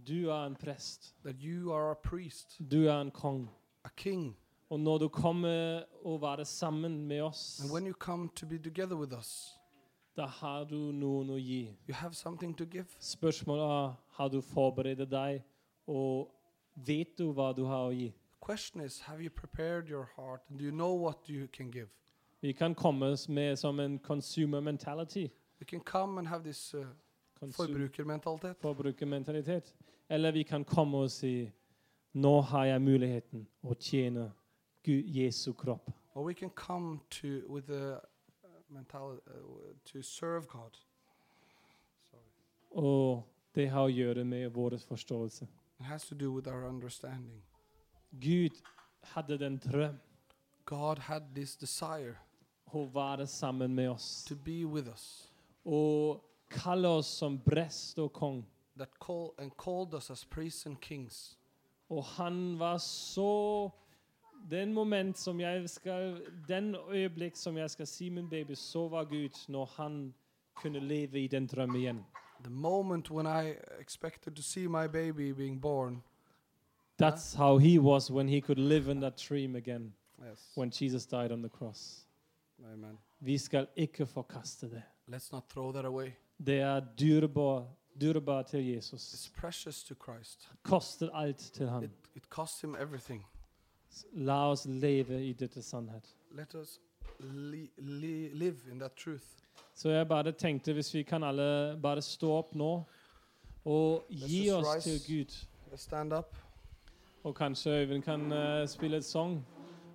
Speaker 1: du er en prest.
Speaker 2: that you are a priest,
Speaker 1: Du er en kong.
Speaker 2: a king.
Speaker 1: Og når du kommer og være sammen med oss,
Speaker 2: And when you come to be together with us,
Speaker 1: da har du noen å gi.
Speaker 2: you have something to give.
Speaker 1: Spørsmålet er har du forberedt deg, og vet du hva du har å gi?
Speaker 2: The question is, have you prepared your heart and do you know what you can give?
Speaker 1: Vi kan komme med som en consumer mentality.
Speaker 2: We can come and have this uh,
Speaker 1: Konsum
Speaker 2: forbrukermentalitet.
Speaker 1: forbrukermentalitet. Eller vi kan komme og si nå har jeg muligheten å tjene Gud, Jesu kropp.
Speaker 2: Or we can come to with the mentality uh, w- to serve God.
Speaker 1: Og det har å gjøre med vår forståelse.
Speaker 2: It has to do with our understanding.
Speaker 1: Gud hadde den drøm
Speaker 2: God had this desire
Speaker 1: å være sammen med oss
Speaker 2: to be with us,
Speaker 1: og kalle oss som prest og kong.
Speaker 2: that call and called us as priests and kings.
Speaker 1: Og han var så Den moment som jeg skal Den øyeblikk som jeg skal si min baby, så var Gud når han kunne leve i den drømmen igjen.
Speaker 2: The moment when I expected to see my baby being born.
Speaker 1: That's how he was when he could live in that dream again
Speaker 2: Yes.
Speaker 1: when Jesus died on the cross.
Speaker 2: Amen.
Speaker 1: Vi skal ikke forkaste det.
Speaker 2: Let's not throw that away.
Speaker 1: Det er dyrebar, dyrebar til
Speaker 2: It's
Speaker 1: Jesus.
Speaker 2: precious to Christ.
Speaker 1: Koster alt til
Speaker 2: It,
Speaker 1: ham.
Speaker 2: it costs him everything.
Speaker 1: S- La oss leve i dette sannhet.
Speaker 2: Let us li- li- live in that truth.
Speaker 1: Så jeg bare tenkte hvis vi kan alle bare stå opp nå og
Speaker 2: Let's
Speaker 1: gi
Speaker 2: just
Speaker 1: oss
Speaker 2: rise.
Speaker 1: til Gud.
Speaker 2: Let's stand up.
Speaker 1: Og kanskje Øyvind kan eh, spille et sang.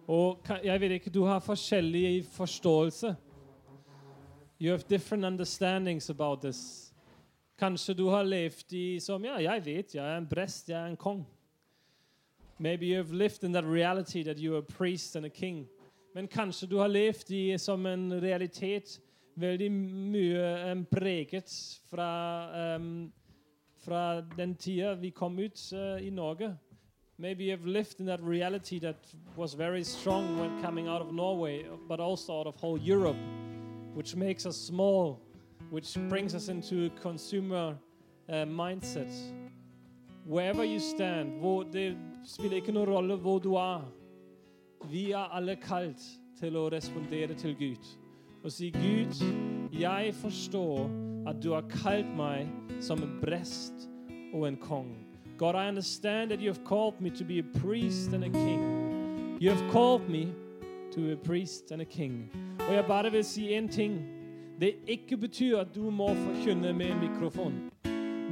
Speaker 1: Og ka- jeg vet ikke, du har forskjellig forståelse. You have different understandings about this. Kanskje du har levd i som Ja, jeg vet, jeg er en prest, jeg er en kong. Maybe you have lived in that reality that you are a priest and a king. Men kanskje du har levd i som en realitet veldig mye em, preget fra, em, fra den tida vi kom ut eh, i Norge. Maybe you've lived in that reality that was very strong when coming out of Norway, but also out of whole Europe, which makes us small, which brings us into a consumer uh, mindset. Wherever you stand, hvor det spiller ikke noen rolle hvor du er. Vi er alle kalt til å respondere til Gud og si Gud, jeg forstår at du har kalt meg som en prest og en kong. God, I understand that you have called me to be a priest and a king. You have called me to be a priest and a king. Og jeg bare vil si én ting. Det ikke betyr at du må forkynne med en mikrofon.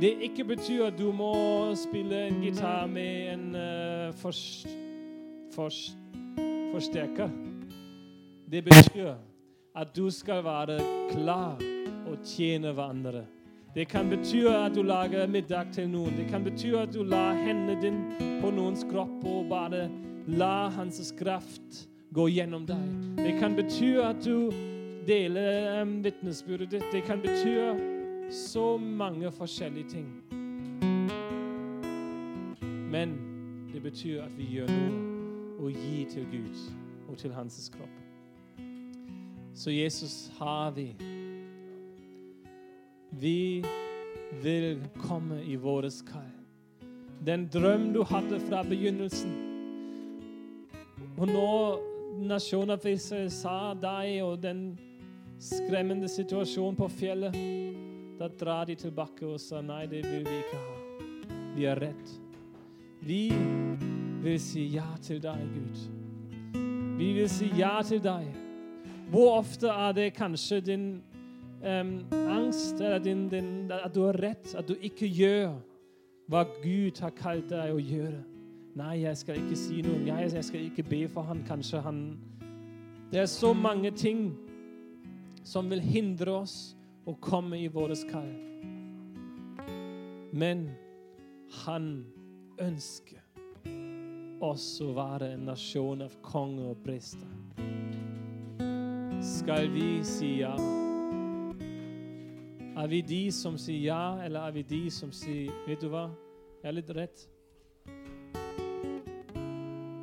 Speaker 1: Det ikke betyr at du må spille en gitar med en eh, fors, fors, forsterker. Det betyr at du skal være klar og tjene hverandre. Det kan bety at du lager middag til noen. Det kan bety at du lar hendene din på noens kropp og bare lar hans kraft gå gjennom deg. Det kan bety at du deler um, vitnesbyrdet ditt. Det kan bety så mange forskjellige ting. Men det betyr at vi gjør noe og gir til Gud og til hans kropp. Så Jesus har vi. Vi vil komme i våres kall. Den drøm du hadde fra begynnelsen. Og nå nasjonen av Israel sa deg og den skremmende situasjon på fjellet. Da drar de tilbake og sa nei, det vil vi ikke ha. Vi er redd. Vi vil si ja til deg, Gud. Vi vil si ja til deg. Hvor ofte er det kanskje din em, angst eller din, din, at du er redd, at du ikke gjør hva Gud har kalt deg å gjøre? Nei, jeg skal ikke si noe. Jeg, jeg skal ikke be for han. Kanskje han Det er så mange ting som vil hindre oss å komme i vårt kall. Men han ønsker oss å være en nasjon av konge og prester. Skal vi si ja? Er vi de som sier ja, eller er vi de som sier Vet du hva? Jeg er litt redd.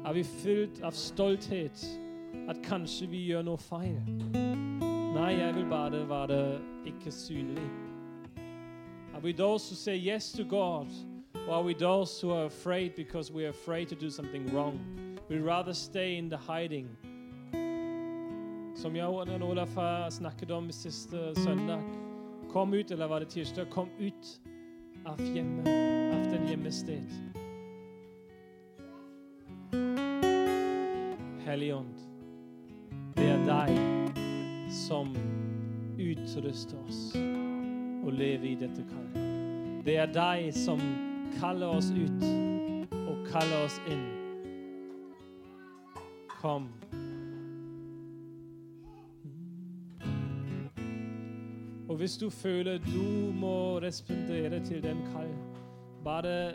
Speaker 1: Er vi fylt av stolthet at kanskje vi gjør noe feil? Nei, jeg vil bare være ikke synlig. Are we those who say yes to God, or are we those who are afraid because we are afraid to do something wrong? We'd rather stay in the hiding. Som jeg og Jan Olaf har snakket om siste søndag. Kom ut, eller var det tirsdag? Kom ut av hjemmet, av den hjemmested. Helligånd, det er deg som utruster oss å leve i dette kallet. Det er deg som kaller oss ut og kaller oss inn. Kom. Og hvis du føler du må respondere til den kall, bare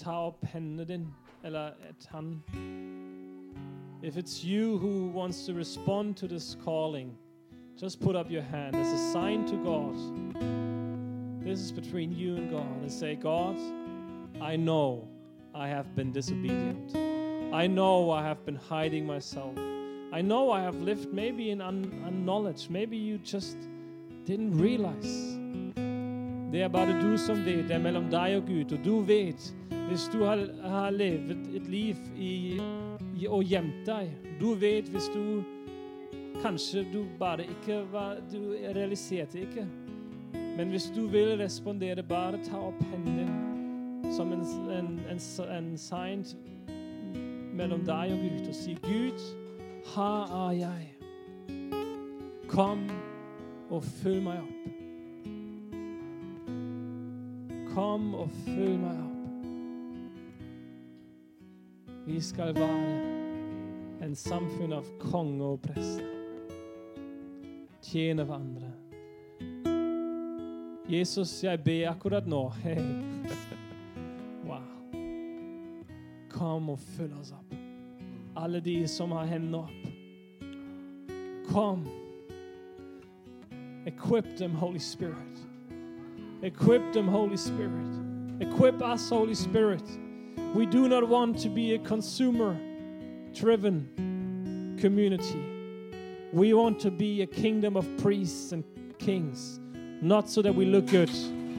Speaker 1: ta opp hendene din, eller et hånd. If it's you who wants to respond to this calling, just put up your hand as a sign to God. This is between you and God. And say, God, I know I have been disobedient. I know I have been hiding myself. I know I have lived maybe in un- unknowledge. Maybe you just didn't realize. Det er bare du som vet. Det er mellom deg og Gud. Og du vet, hvis du har, har levd et liv i, i, og gjemt deg Du vet hvis du Kanskje du bare ikke var Du realiserte ikke. Men hvis du vil respondere, bare ta opp hendene som en, en, en, en sign mellom deg og Gud og si Gud, her er jeg. Kom og fyll meg opp. Kom og fyll meg opp. Vi skal være en samfunn av konge og prester. Tjene hverandre. Jesus, jeg ber akkurat nå. Hei. Wow. Kom og fyll oss opp. Alle de som har hendene opp. Kom. Equip them, Holy Spirit. Equip them, Holy Spirit. Equip us, Holy Spirit. We do not want to be a consumer driven community. We want to be a kingdom of priests and kings, not so that we look good,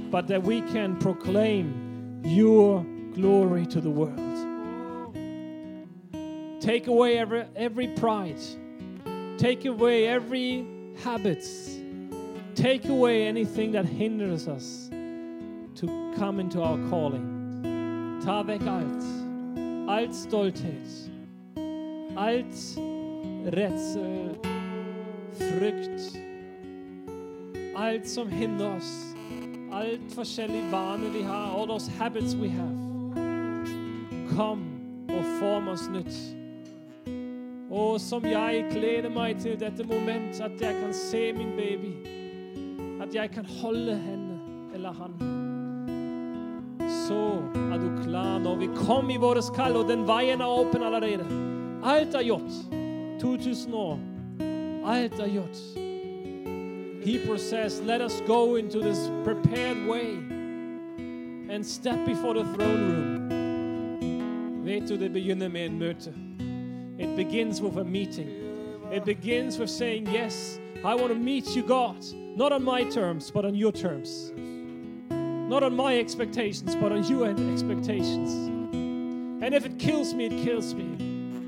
Speaker 1: but that we can proclaim your glory to the world. Take away every, every pride, take away every habits. Take away anything that hinders us to come into our calling. Ta vekk alt. Alt stolthet. Alt redsel, frykt. Alt som hindrer oss. Alt forskjellige vaner vi har. All those habits we have. Kom og form oss nytt. Og som jeg gleder meg til dette moment, at jeg kan se min baby at jeg kan holde henne eller han. Så er du klar når vi kom i vårt kall, og den veien er åpen allerede. Alt er gjort. 2000 år. Alt er gjort. Hebrew says, let us go into this prepared way and step before the throne room. Vet du, det begynner med en møte. It begins with a meeting. It begins with saying, Yes, I want to meet you, God, not on my terms, but on your terms. Not on my expectations, but on your expectations. And if it kills me, it kills me.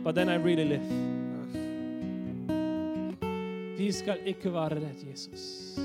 Speaker 1: But then I really live. Vi skal ikke være redd Jesus.